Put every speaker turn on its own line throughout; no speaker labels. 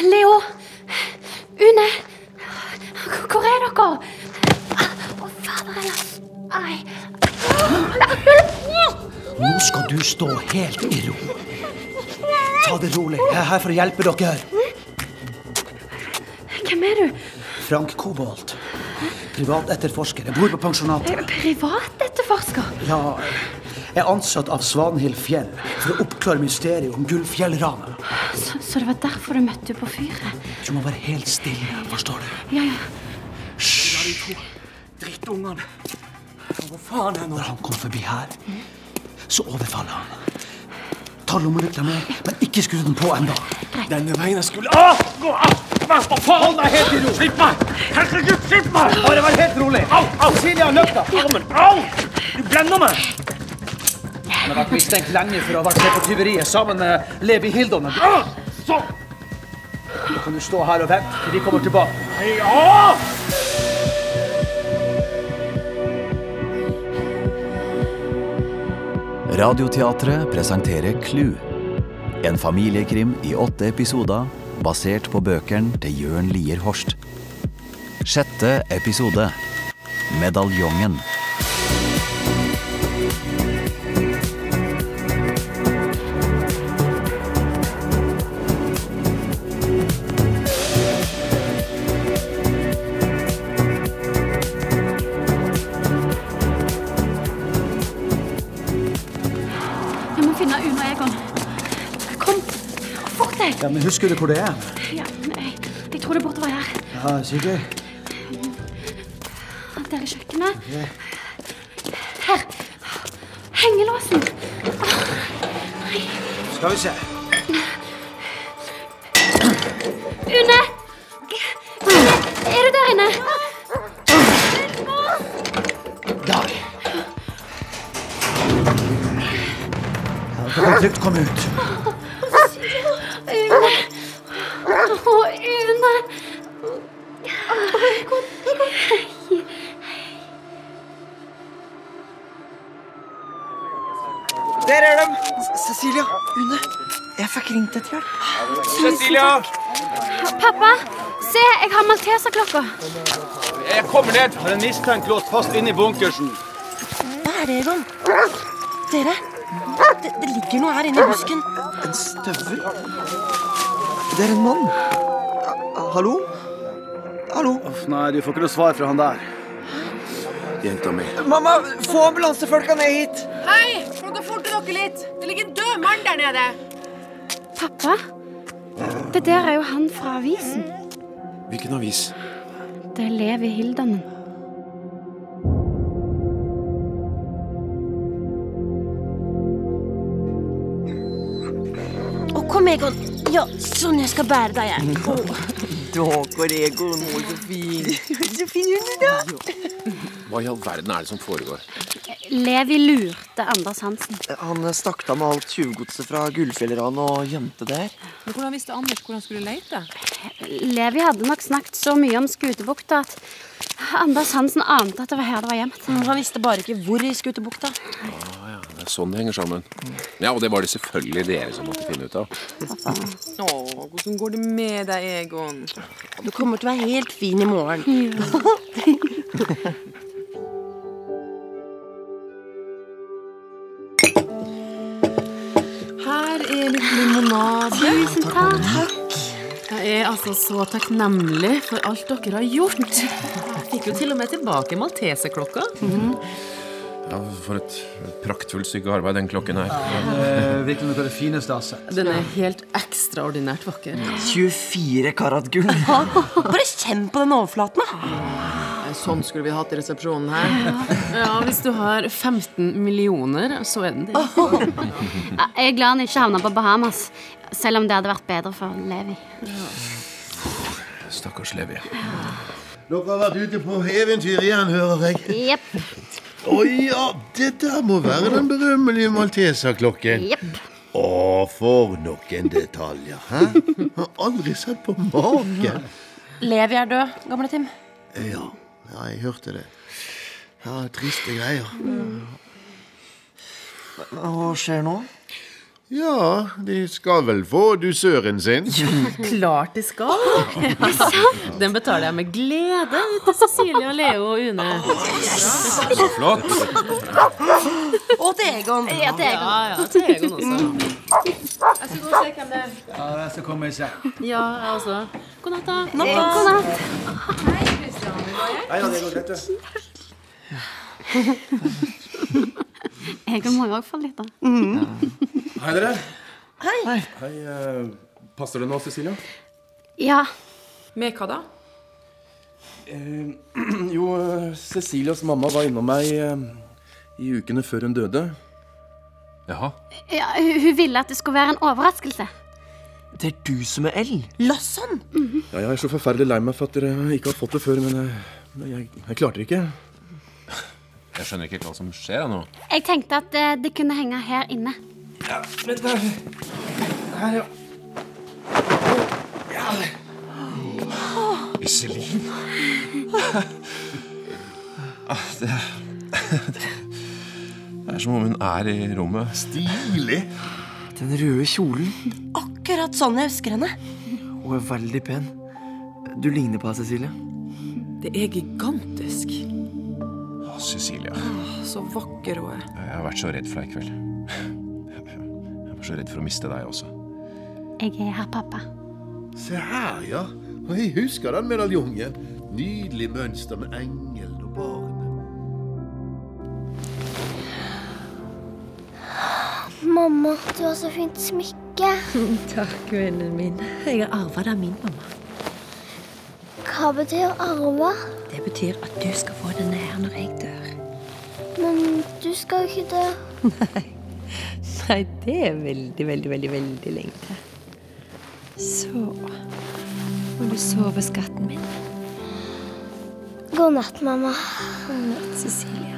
Leo! Une! H- Hvor er dere? Å, fader heller. Ai.
Nå skal du stå helt i ro. Ta det rolig. Jeg er her for å hjelpe dere.
Hvem er du?
Frank Kobolt. Privatetterforsker. Jeg bor på pensjonatet.
Eh, Privatetterforsker?
Ja, jeg er ansatt av Svanhild Fjell for å oppklare mysteriet om Gullfjellranet.
Så, så det var derfor du møtte på fyret?
Du må være helt stille, forstår du?
Ja, ja.
Drittungene. Hvor faen er nå?
Når han kom forbi her, så overfaller han. Ta lommelykla med, men ikke skru den på ennå.
Denne veien jeg skulle Åh! Gå av! Hva faen? Hold deg helt i ro. Slipp meg! Herregud, slipp meg!
Bare vær helt rolig.
Au, au!
Silja har løfta.
Armen! Au! Du blender meg!
Han har vært mistenkt lenge for å ha vært med på tyveriet sammen med Levi Hildonen.
Åh! Sånn!
Nå kan du stå her og vente til de kommer tilbake.
Ja!
Radioteatret presenterer Clou. En familiekrim i åtte episoder basert på bøkene til Jørn Lier Horst. Sjette episode Medaljongen.
Jeg må finne Une og Egon. Kom, fort deg!
Ja, men Husker du hvor det er?
Ja, men jeg, jeg tror det er bortover her.
Ja, sikkert.
Der er kjøkkenet. Her. Hengelåsen.
Skal vi se.
Une! Une, Er du der inne?
Der. Ja, Du kan trygt komme ut.
Une! Å, Une!
Der er de!
Cecilia!
Une, jeg fikk ringt etter hjelp.
Cecilia!
Pappa, se, jeg har malteserklokka.
Jeg kommer ned. Har en mistenkt låst fast inne i bunkersen.
Hva er det, Egon? Dere, det, det ligger noe her inne i busken.
En støvel? Det er en mann. Hallo? Hallo?
Nei, du får ikke noe svar fra han der.
Jenta mi.
Mamma, få ambulansefolka ned hit!
Hei! Må dere forte dere litt! Det ligger en død mann der nede.
Pappa, det der er jo han fra avisen.
Hvilken avis?
Det er Levi Hildanen.
Å, kom, Egon. Ja, sånn jeg skal bære deg, jeg.
Dager, Egon og Josefin.
Josefin, Une, da.
Hva i all verden er det som foregår?
Levi lurte Anders Hansen.
Han eh, stakk av med alt tjuvgodset fra Gullfjellranet og gjemte det her.
Men Hvordan visste Anders hvor han skulle lete?
Levi hadde nok snakket så mye om Skutebukta at Anders Hansen ante at det var her det var gjemt.
Han visste bare ikke hvor i Skutebukta.
Det er sånn det henger sammen. Ja, og det var det selvfølgelig dere som måtte finne ut av.
Å, hvordan går det med deg, Egon?
Du kommer til å være helt fin i morgen.
Her er litt limonade.
Tusen takk.
Jeg er altså så takknemlig for alt dere har gjort. Fikk jo til og med tilbake malteserklokka.
Mhm.
Ja, For et praktfullt stykke arbeid, den klokken her.
Eh,
Eh,
Virkelig noe av det fineste jeg har sett.
Den er helt ekstraordinært vakker.
24 karat gull.
Bare kjenn på den overflaten, da.
Nei, Sånn skulle vi hatt i resepsjonen her. Ja, Hvis du har 15 millioner, så er den din.
Ja, Jeg er glad han ikke havna på Bahamas, selv om det hadde vært bedre for Levi.
Stakkars Levi.
Dere har vært ute på eventyr igjen, hører jeg.
Jepp.
Å ja, det der må være den berømmelige malteserklokken.
Jepp.
Å, for noen detaljer. Hæ? Jeg Har aldri sett på maken.
Levi er død, gamle Tim.
Ja, ja jeg hørte det. Ja, Triste greier.
Hva skjer nå?
Ja, de skal vel få dusøren sin.
Klart de skal. Den betaler jeg med glede til Cecilie og Leo og Une.
Så flott.
Og til Egon.
Ja, det er jeg.
Ja, ja, til Egon også.
Jeg skal gå og se hvem det er.
Ja, det skal komme seg.
Ja, jeg også. God natt, da.
God natt. Jeg må jo òg få litt, da.
Mhm.
Hei, dere. Hei. eh, passer det nå, Cecilia?
Ja.
Med hva da?
Eh, jo, eh, Cecilias mamma var innom meg eh, i ukene før hun døde.
Jaha.
ja hun, hun ville at det skulle være en overraskelse.
Det er du som er L.
Lasson.
Mhm.
Ja, jeg er så forferdelig lei meg for at dere ikke har fått det før, men eh, men jeg, jeg klarte det ikke.
Jeg skjønner ikke hva som skjer her nå.
Jeg tenkte at eh, det kunne henge her inne.
Iselin. Ah, Det, det er som om hun er i rommet.
Stilig.
Den røde kjolen.
Akkurat sånn jeg husker henne.
Hun er veldig pen. Du ligner på henne, Cecilie.
Det er gigantisk.
Å, Cecilia.
Så vakker hun er.
Jeg har vært så redd for deg i kveld. Jeg var så redd for å miste deg også.
Jeg er her, pappa.
Se her, ja. Og Jeg husker den medaljongen. Nydelig mønster med engel og barn.
Mamma, du har så fint smykke.
Takk, vennen min. Jeg har arva det av min mamma.
Hva betyr arve?
Det betyr at du skal få denne her når jeg dør.
Men du skal jo ikke dø.
Nei, det er veldig, veldig, veldig, veldig lenge til. Så må du sove, skatten min,
God natt, mamma.
Cecilia.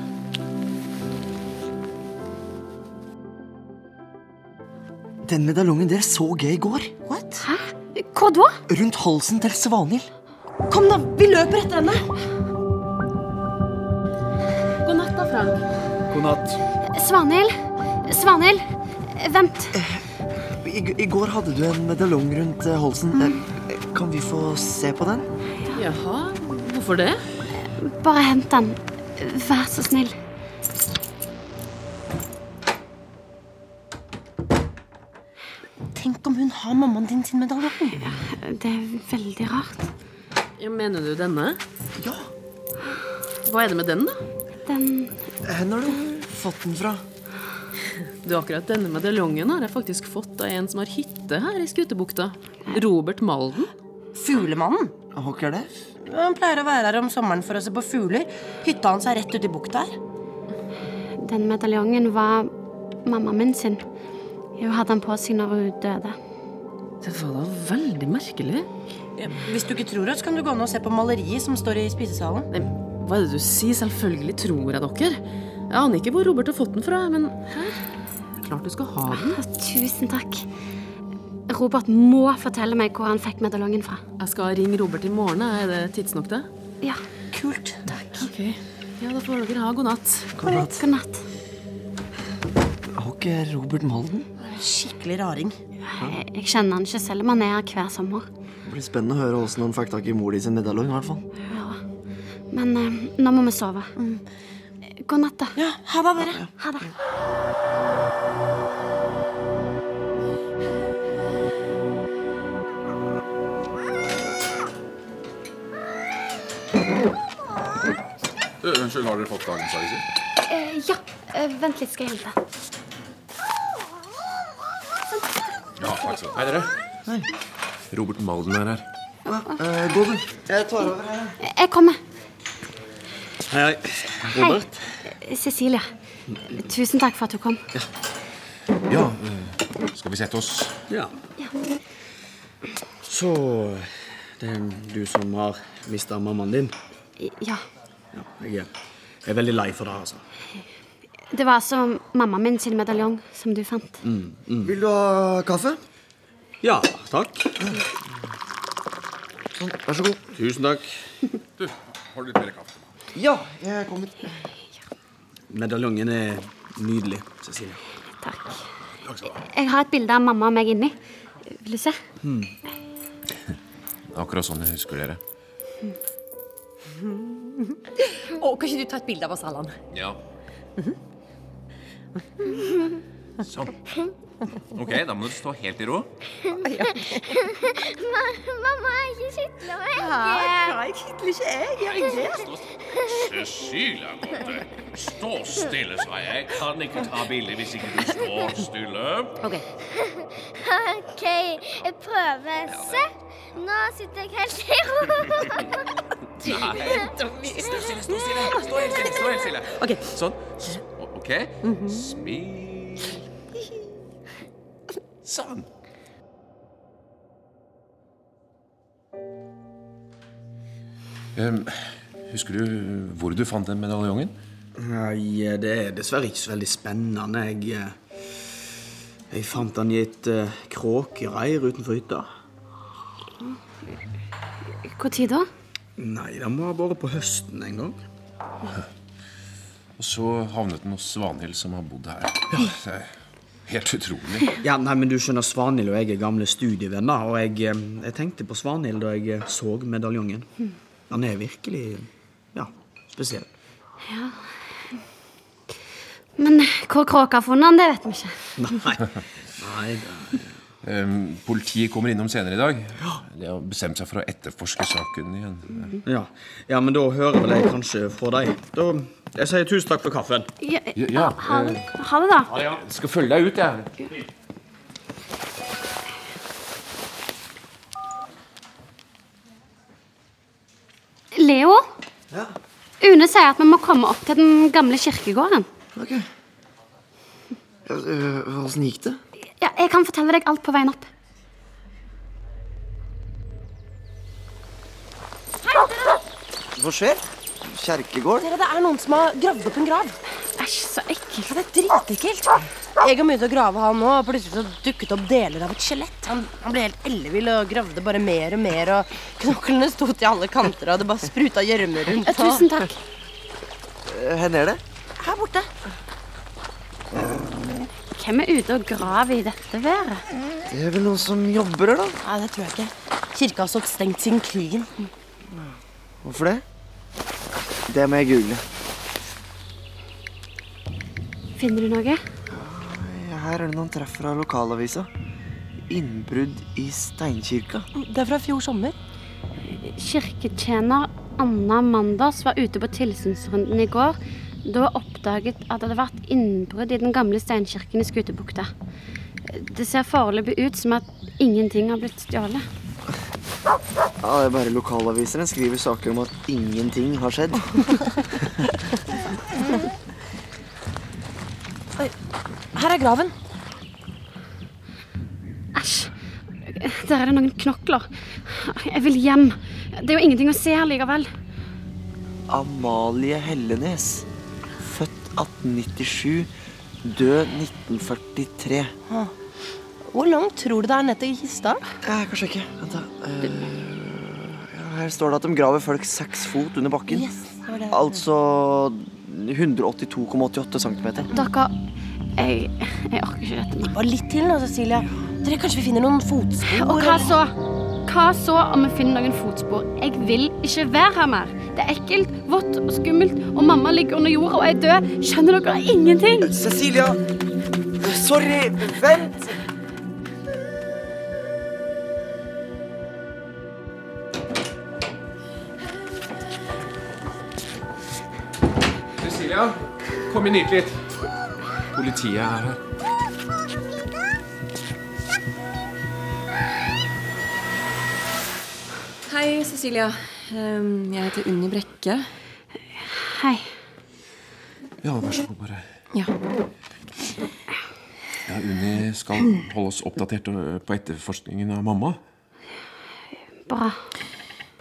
Den medaljongen der så jeg i går.
What?
Hæ? Hva da?
Rundt halsen til Svanhild.
Kom, da! Vi løper etter henne!
God natt, da, Frank.
God natt.
Svanhild? Svanhild? Vent.
I, I går hadde du en medaljong rundt eh, halsen. Eh, eh, Kan vi få se på den?
Jaha, hvorfor det?
Bare hent den. Vær så snill.
Tenk om hun har mammaen din sin medaljong.
Det er veldig rart.
Ja, mener du denne?
Ja.
Hva er det med den, da?
Den
Hvor Eh, har du fått den fra?
Du, akkurat denne medaljongen har jeg faktisk fått av en som har hytte her i Skutebukta. Robert Malden.
Fuglemannen.
Hva er det?
Han pleier å være her om sommeren for å se på fugler. Hytta hans er rett ute i bukta her.
Den medaljongen var mamma min sin. Hun hadde den på seg når hun døde.
Det var da veldig merkelig.
Hvis du ikke tror oss, kan du gå ned og se på maleriet som står i spisesalen.
Nei, hva er det du sier? Selvfølgelig tror jeg dere. Jeg aner ikke hvor Robert har fått den fra, men her. Klart du skal ha den.
Ah, Tusen takk. Robert må fortelle meg hvor han fikk medaljongen fra.
Jeg skal ringe Robert i morgen. Er det tidsnok, det?
Ja,
Kult.
Ok. Ja, da får dere ha god natt.
god natt.
Har ikke Robert Malden?
Skikkelig raring.
Jeg jeg kjenner han ikke selv om han er her hver sommer.
Det blir spennende å høre hvordan han fikk tak i mor di sin medaljong. i hvert fall.
Men eh, nå må vi sove. God natt, da.
Mm. Ja, ha det, dere.
Ha det.
Du, Eh, Unnskyld, har dere fått dagens aviser?
Eh, ja, eh, vent litt, skal jeg hente.
Ja, takk skal du ha. Hei, dere. Robert Malden er her.
Eh, gå, du. Jeg tar over her.
Eh, Jeg kommer.
Hei, hei. Robert.
Eh, Cecilia, tusen takk for at du kom.
Ja, eh, skal vi sette oss?
Ja. Så det er du som har mista mammaen din?
I- Ja,
Ja, jeg er, jeg er veldig lei for det, altså.
det var altså mamma min sin medaljong som du fant.
Vil du ha kaffe?
Mm, Ja, takk.
Sånn, Vær så god.
Tusen takk.
Du, har du litt mer kaffe?
Ja, jeg kommer.
Medaljongen er nydelig, Cecilie.
Takk. Jeg har et bilde av mamma og meg inni. Vil du se?
Hmm. Det er akkurat sånn jeg husker dere.
Å, kan ikke du ta et bilde av oss, Allan?
Ja. Sånn. Ok, da må du stå helt i ro.
Ma- Mamma er ikke skitne, og jeg
Nei, kitler ikke jeg. Gjør jeg det?
Cecilia, Lotte. Stå stille, sa jeg. Jeg kan ikke ta bilde hvis ikke du står stille.
OK, jeg prøver. Se! Nå sitter jeg helt i ro.
Stå stille, stå stille. Stå helt stille. Stå helt stille. Sånn. S- Ok. Smil. Sånn. Ehm, husker du hvor du fant den medaljongen?
Nei, det er dessverre ikke så veldig spennende. Jeg, eh, jeg fant den i et eh, kråkereir utenfor hytta.
Når da?
Nei, den må ha vært på høsten en gang.
Og så havnet den hos Svanhild, som har bodd her. Det er Helt utrolig.
Ja, nei, men du skjønner, Svanhild og jeg er gamle studievenner, og jeg, eh, jeg tenkte på Svanhild da jeg eh, så medaljongen.
Hm.
Den er virkelig, ja, spesiell.
Ja. Men hvor kråka har funnet den, det vet vi ikke.
Nei.
Ehm, Politiet kommer innom senere i dag. De har bestemt seg for å etterforske saken igjen.
Ja. ja, men da hører vel jeg kanskje fra deg. Da, jeg sier tusen takk for kaffen.
Ja,
Ja, ja, eh.
ha, det, ha det, da.
Jeg skal følge deg ut, jeg.
Leo,
Ja.
Une sier at vi må komme opp til den gamle kirkegården.
Ok. Ja, øh, Hvordan gikk det?
Ja, jeg kan fortelle deg alt på veien opp.
Hva skjer? Kjerkegård? Eh,
Dere, det er noen som har gravd opp en grav.
Æsj, så ekkelt.
Ja, det er dritekkelt. Egon begynte å grave han nå, og plutselig så dukket opp deler av et skjelett. Han, han ble helt ellevill og gravde bare mer og mer, og knoklene sto til alle kanter, og det bare spruta gjørme rundt.
Ja, tusen takk.
Hvor er det?
Her borte.
Hvem er ute og graver i dette været?
Det er vel noen som jobber her, da.
Nei, det tror jeg ikke. Kirka har stått stengt siden krigen.
Hvorfor det? Det må jeg google.
Finner du noe?
Her er det noen treff fra lokalavisa. Innbrudd i steinkirka.
Det er fra fjor sommer.
Kirketjener Anna Manders var ute på tilsynsrunden i går. Da oppdaget at det hadde vært innbrudd i den gamle steinkirken i Skutebukta. Det ser foreløpig ut som at ingenting har blitt stjålet.
Ja, det er bare lokalaviser. Den skriver saker om at ingenting har skjedd.
Oi, her er graven.
Æsj. Der er det noen knokler. Jeg vil hjem. Det er jo ingenting å se her likevel.
Amalie Hellenes. Født 1897. Død 1943.
Ah. Hvor langt tror du det er ned til kista?
Jeg kan sjekke. Vent, da. Eh, Ja, Her står det at de graver folk seks fot under bakken.
var det.
Altså 182,88 cm.
Dere Jeg, jeg orker ikke dette.
Bare litt til nå, Cecilia. Dere, kanskje vi finner noen fotspor?
Og hva så? Hva så om vi finner noen fotspor? Jeg vil ikke være her mer. Det er ekkelt, vått og skummelt, og mamma ligger under jorda og er død. Skjønner dere ingenting?
Cecilia! Sorry, vent!
Cecilia, kom inn hit litt. Politiet er her.
Hei, Cecilia. Ehm, Jeg heter Unni Brekke.
Hei.
Ja, vær så god, bare.
Ja.
Ja, Unni skal holde oss oppdatert ø, på etterforskningen av mamma.
Bra.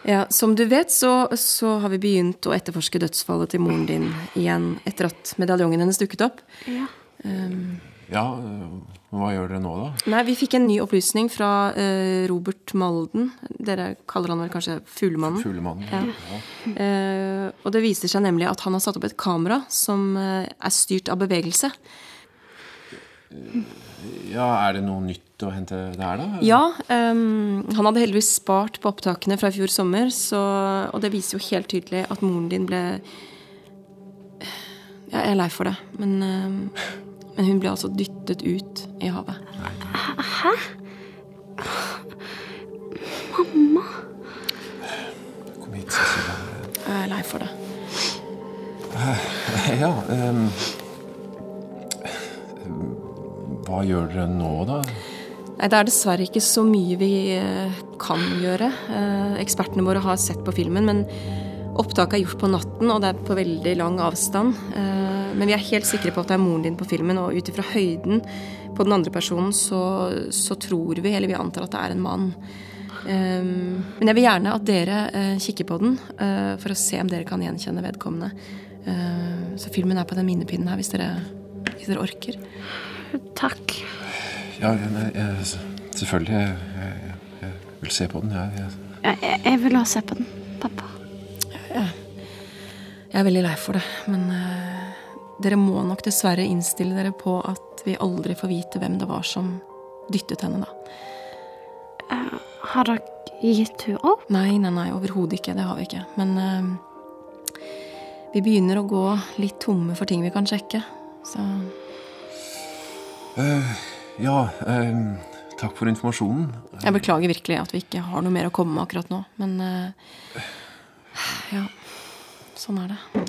Ja, som du vet, så, så har vi begynt å etterforske dødsfallet til moren din igjen etter at medaljongen hennes dukket opp.
Ja.
Ehm,
Ja, ø, hva gjør dere nå, da?
nei, vi fikk en ny opplysning fra eh, Robert Malden. Dere kaller han vel kanskje Fuglemannen?
Fuglemannen,
Ja.
ja.
Eh, og det viser seg nemlig at han har satt opp et kamera som eh, er styrt av bevegelse.
Ja, Er det noe nytt å hente der, da?
Ja, ehm, han hadde heldigvis spart på opptakene fra i fjor sommer, så, og det viser jo helt tydelig at moren din ble Ja, jeg er lei for det, men, ehm, men hun ble altså dyttet ut i havet.
Hæ? Mamma?
Kom hit, Cecilia.
Jeg er lei for det.
Eh, Ja ehm, Hva gjør dere nå, da?
Nei, Det er dessverre ikke så mye vi eh, kan gjøre. Eh, Ekspertene våre har sett på filmen, men opptaket er gjort på natten, og det er på veldig lang avstand. Eh, Men vi er helt sikre på at det er moren din på filmen, og ut ifra høyden på den andre personen, så, så tror vi, eller vi antar at det er en mann. Eh, Men jeg vil gjerne at dere eh, kikker på den, eh, for å se om dere kan gjenkjenne vedkommende. Eh, Så filmen er på den minnepinnen her, hvis dere, hvis dere orker.
Takk.
Ja, nei, eh, s- Selvfølgelig. Jeg, jeg, jeg vil se på den. Jeg, jeg.
Jeg, jeg, jeg vil også se på den.
Jeg er veldig lei for det, men eh, dere må nok dessverre innstille dere på at vi aldri får vite hvem det var som dyttet henne, da.
Eh, Har dere gitt henne opp?
Nei, nei, nei, overhodet ikke. Det har vi ikke. Men eh, vi begynner å gå litt tomme for ting vi kan sjekke. Så
Eh, ja, ehm, takk for informasjonen.
jeg beklager virkelig at vi ikke har noe mer å komme med akkurat nå, men eh, Ja. Sånn er det.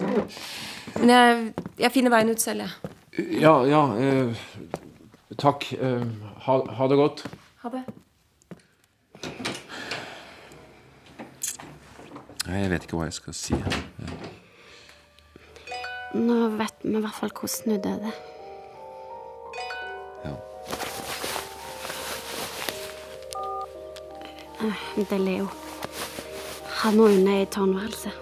Men jeg, jeg finner veien ut selv, jeg.
Ja, ja. eh, takk. Eh, ha, ha det godt.
Ha det.
Nei, Jeg vet ikke hva jeg skal si.
Nå vet vi i hvert fall hvordan hun døde.
Ja.
Eh, Det er Leo. Han og hun er i tårnværelset.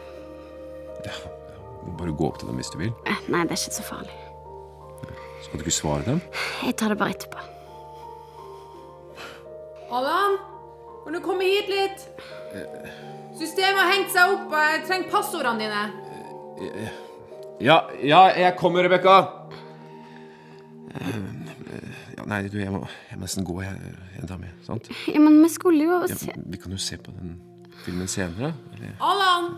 Bare gå opp til dem hvis du vil.
Eh, Nei, det er ikke så farlig.
Skal du ikke svare dem?
Jeg tar det bare etterpå.
Allan, kan du komme hit litt?
Eh,
Systemet har hengt seg opp, og jeg trenger passordene dine.
Ja, ja, jeg kommer, Rebekka. Eh, Ja, nei, du, jeg må, jeg må nesten gå, jeg, jeg dame. Sant?
Ja, men vi skulle jo
Ja,
se
vi kan jo se på den filmen senere. Eller?
Allan!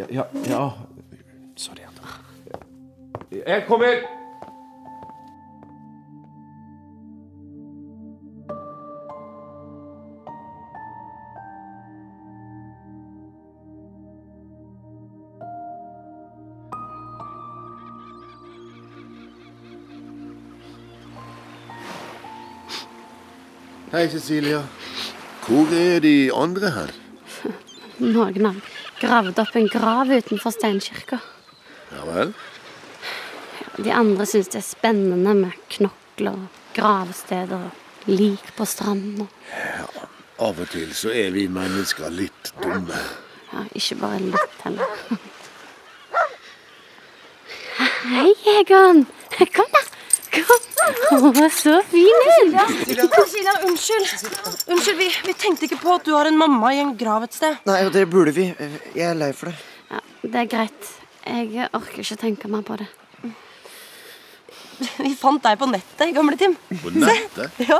Ja, ja, ja. Sorry, Anna. Jeg kommer!
Hei, Cecilia. Hvor er de andre her?
Noen har gravd opp en grav utenfor steinkirka.
Ja vel?
De andre syns det er spennende med knokler, og gravsteder og lik på stranden. og-
Av og til så er vi mennesker litt dumme.
Ja, ikke bare litt heller. Hei, Egon. Kom, da. Kom. Å, så fin
Cecilia,
hun
Cecilia, unnskyld. Unnskyld, vi, vi tenkte ikke på at du har en mamma i en grav et sted.
Nei, og det burde vi. eh, Jeg er lei for det.
Det er greit. Jeg orker ikke tenke mer på det.
Vi fant deg på nettet, gamle Tim.
På nettet?
Ja.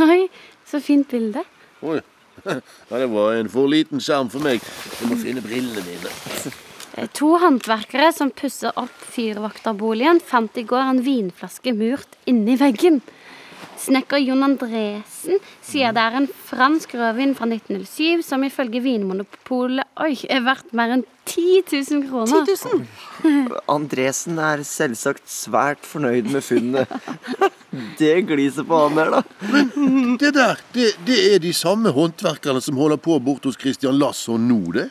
Oi, så fint bilde.
Oi. Ja, det var en for liten skjerm for meg. Jeg må finne brillene mine.
Eh, To håndverkere som pusser opp fyrvokterboligen, fant i går en vinflaske murt inni veggen. Snekker Jon Andresen sier det er en fransk rødvin fra 1907 som ifølge Vinmonopolet oi, er verdt mer enn 10 000 kroner.
10 000? Andresen er selvsagt svært fornøyd med funnet. Det gliset på han der, da.
Men det der, det, det er de samme håndverkerne som holder på borte hos Christian Lasson nå, det?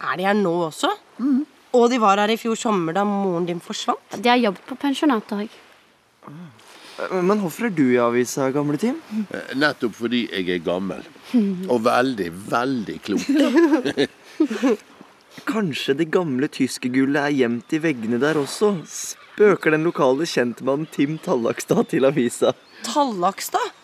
Er de her nå også? Og de var her i fjor sommer da moren din forsvant?
Mhm. De har jobbet på pensjonatet òg.
Men hvorfor er du i avisa, gamle Tim? Eh, Nettopp fordi jeg er gammel. Og veldig, veldig klok.
Kanskje det gamle tyskergullet er gjemt i veggene der også? Spøker den lokale kjentmannen Tim Tallakstad til avisa.
Tallakstad?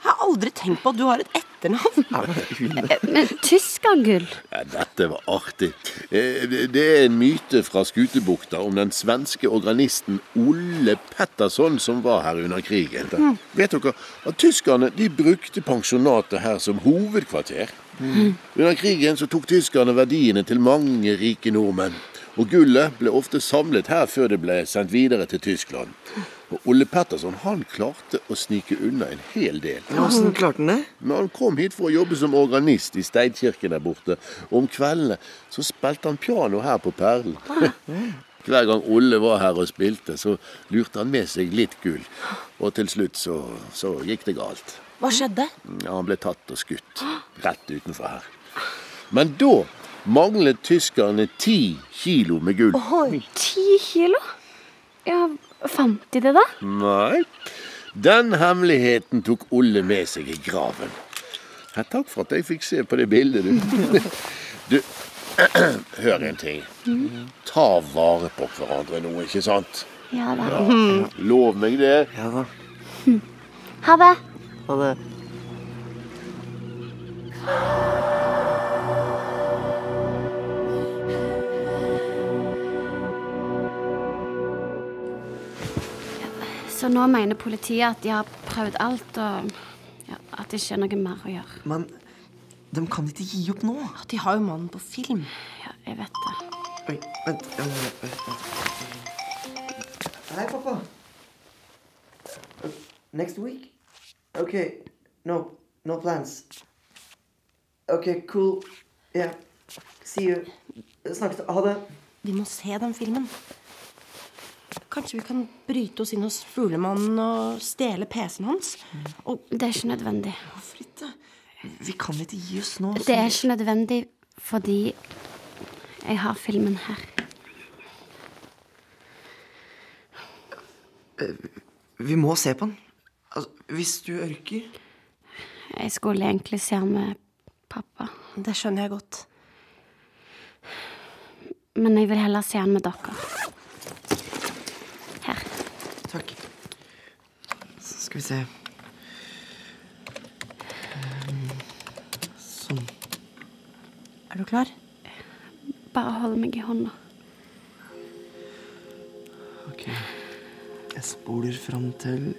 Jeg har aldri tenkt på at du har et etternavn?
Men Tyskergull?
Ja, dette var artig. Eh, Det det er en myte fra Skutebukta om den svenske organisten Olle Pettersson som var her under krigen. Da.
Mm.
Vet dere at tyskerne de brukte pensjonatet her som hovedkvarter?
Mm.
Under krigen så tok tyskerne verdiene til mange rike nordmenn. Og gullet ble ofte samlet her før det ble sendt videre til Tyskland. Og Olle Petterson han klarte å snike unna en hel del.
Ja, hvordan klarte han det?
Men han kom hit for å jobbe som organist i Steinkirken der borte. Og om kveldene så spilte han piano her på Perlen. Hver gang Olle var her og spilte, så lurte han med seg litt gull. Og til slutt så, så gikk det galt.
Hva skjedde?
Ja, han ble tatt og skutt rett utenfor her. Men da manglet tyskerne ti kilo med gull.
Ti kilo? Ja, fant de det, da?
Nei. Den hemmeligheten tok Olle med seg i graven. Ja, takk for at jeg fikk se på det bildet, du. Du, hør en ting. Ta vare på hverandre nå, ikke sant?
Ja da.
Lov meg det.
Ja da.
Hm. Ha det.
Ha det.
Så nå mener politiet at de har prøvd alt, og ja, at det ikke er noe mer å gjøre.
Men de kan ikke gi opp nå.
De har jo mannen på film.
Ja, jeg vet det.
Oi, vent. ja, ja, ja, ja. Hei, pappa. Uh, Next week? Okay, no, no plans. Okay, cool. Yeah, see you. Snakkes. Ha det.
Vi må se den filmen. Kanskje vi kan bryte oss inn hos fuglemannen og stjele PC-en hans?
Det er ikke nødvendig.
Hvorfor
ikke? Vi kan ikke gi oss nå.
Det er ikke nødvendig fordi jeg har filmen her.
Vi må se på den. Altså, hvis du ørker
Jeg skulle egentlig se den med pappa.
Det skjønner jeg godt.
Men jeg vil heller se den med dere. Her.
Takk. Så skal vi se. Um, Sånn.
Er du klar?
Bare hold meg i hånda.
Ok. Jeg spoler fram til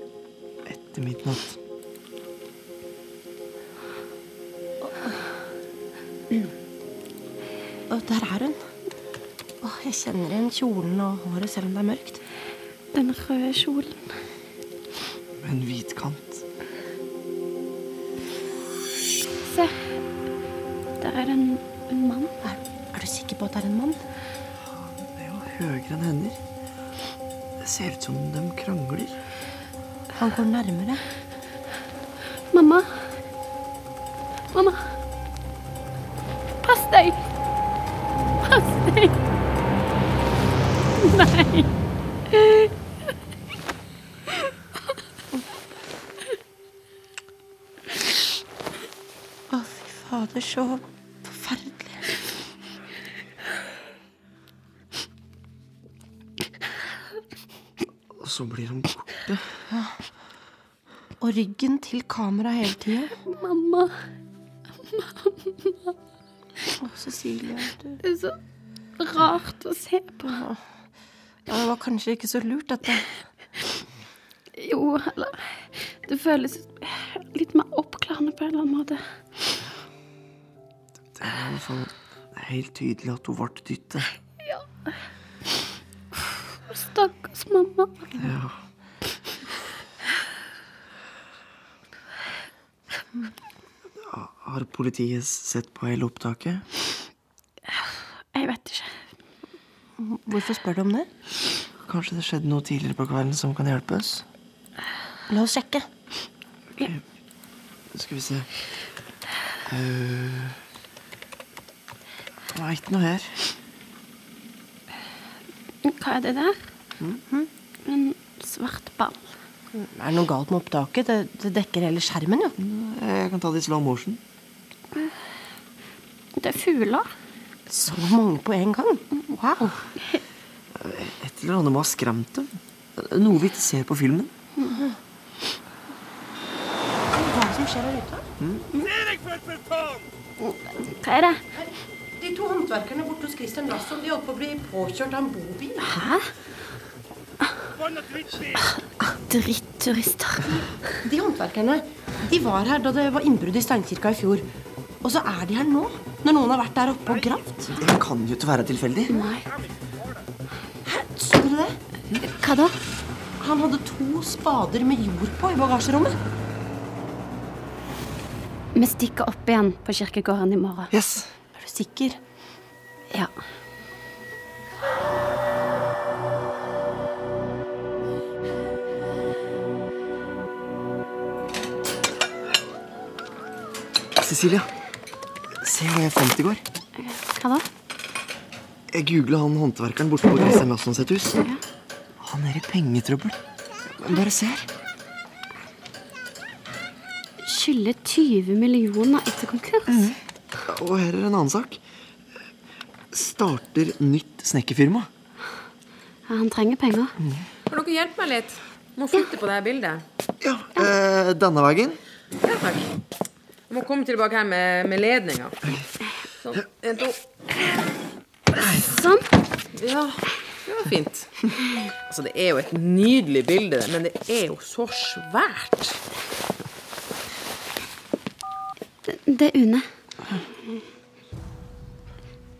etter midnatt.
Og Mm. der er hun. Åh, jeg kjenner igjen kjolen og håret selv om det er mørkt.
Den røde kjolen.
Med en hvit kant.
Se. Der er det en, en mann.
Er du sikker på at det er en mann?
Høyere enn hender. Det ser ut som de krangler.
Han går nærmere.
Mamma. Mamma. Pass deg. Pass deg. Nei.
Å, fy fader, så forferdelig.
Og så blir han borte.
Ja. Og ryggen til kamera hele tida.
Mamma.
Å, Cecilie. Du.
Det er så rart å se på.
Ja, det var kanskje ikke så lurt, dette.
Jo, eller Det føles litt mer oppklarende på en eller annen måte.
Det er i hvert fall Sånn. helt tydelig at hun ble dyttet.
Ja. Stakkars mamma.
Ja. Har politiet sett på hele opptaket?
Jeg vet ikke.
Hvorfor spør du om det?
Kanskje det skjedde noe tidligere på kvelden som kan hjelpe oss?
La oss sjekke.
Skal vi se Eh, Det var ikke noe her.
Hva er det der?
Mhm.
En svart ball.
Er det noe galt med opptaket? Det, det dekker hele skjermen, jo.
Jeg kan ta det i slow motion.
Det er fugler.
Så mange på en gang? Wow.
Et eller annet må ha skremt dem. Noe vi ikke ser på filmen.
Hva var det som skjer der ute?
Hva er det?
De to håndverkerne borte hos Christian Larsson de holdt på å bli påkjørt av en bobil.
Hæ? Dritturister.
De håndverkerne de var her da det var innbrudd i steinkirka i fjor. Og så er de her nå, når noen har vært der oppe og gravd.
Det kan jo ikke være tilfeldig.
Nei.
Så du det?
Hva da?
Han hadde to spader med jord på i bagasjerommet.
Vi stikker opp igjen på kirkegården i morgen.
Yes.
Er du sikker?
Ja.
Cecilia, se hva jeg fant i går.
Hva da?
Jeg googla han håndverkeren borte på Kristian Lasson sitt hus. Han er i pengetrøbbel. Men Bare se her.
Skylder 20 millioner etter konkurs.
Mhm.
Og her er en annen sak. Starter nytt snekkerfirma.
Ja, han trenger penger.
Kan dere hjelpe meg litt? Må flytte på det her bildet.
Eh, denne veien.
Ja, takk. Jeg må komme tilbake her med, med ledninga. Sånn. En, to.
Sånn.
Ja, det var fint. Altså, det er jo et nydelig bilde, men det er jo så svært.
Det er Une.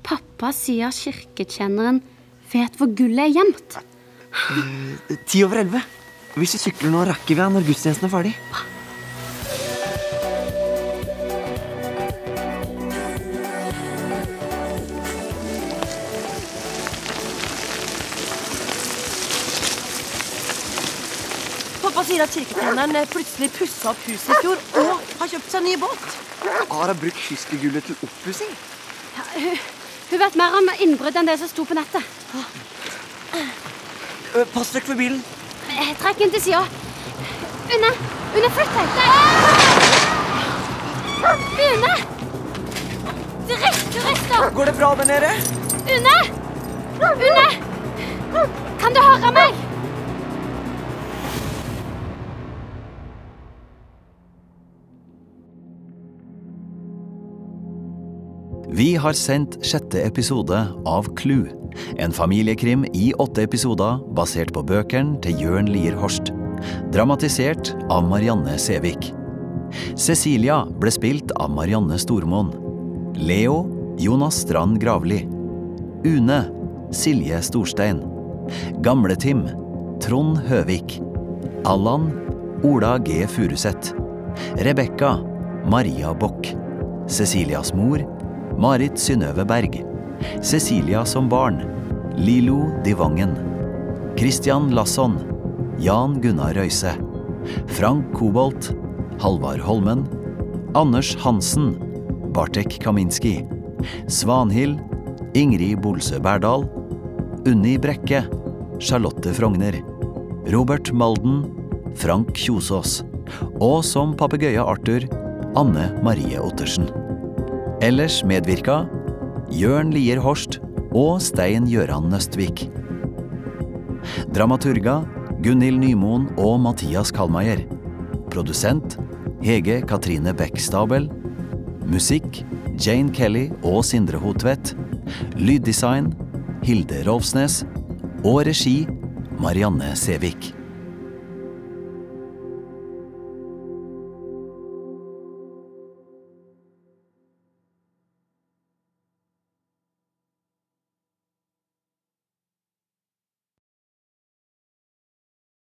Pappa sier kirkekjenneren vet hvor gullet er gjemt.
Eh, Ti over elleve. Hvis vi sykler nå, rekker vi han når gudstjenesten er ferdig.
Pappa sier at kirketjeneren eh, plutselig pussa opp huset i fjor og har kjøpt seg ny båt.
Har han brukt kystegullet til oppussing?
Ja, hun, hun vet mer om innbrudd enn det som sto på nettet.
Eh, Pass dere for bilen.
Eh, Trekk inn til sida. Une! Une, flytt deg! Nei! Une! Dritturister!
Går det bra der nede?
Une! Une! Kan du høre meg?
Vi har sendt sjette episode av Clue, en familiekrim i åtte episoder basert på bøkene til Jørn Lier Horst. Dramatisert av Marianne Sævik. Cecilia ble spilt av Marianne Stormoen. Leo Jonas Strand Gravli. Une Silje Storstein. Gamle-Tim Trond Høvik. Allan Ola G. Furuseth. Rebekka Maria Bock. Cecilias mor Marit Synnøve Berg. Cecilia som barn. Lilo Divangen. Christian Lasson. Jan Gunnar Røise. Frank Kobolt. Halvard Holmen. Anders Hansen. Bartek Kaminski. Svanhild. Ingrid Bolsø Berdal. Unni Brekke. Charlotte Frogner. Robert Malden. Frank Kjosås. Og som papegøye Arthur, Anne Marie Ottersen. Ellers medvirka Jørn Lier Horst og Stein Gjøran Nøstvik. Dramaturga Gunhild Nymoen og Mathias Kallmeier. Produsent Hege Katrine Bech Stabel. Musikk Jane Kelly og Sindre Hotvedt. Lyddesign Hilde Rolfsnes. Og regi Marianne Sævik.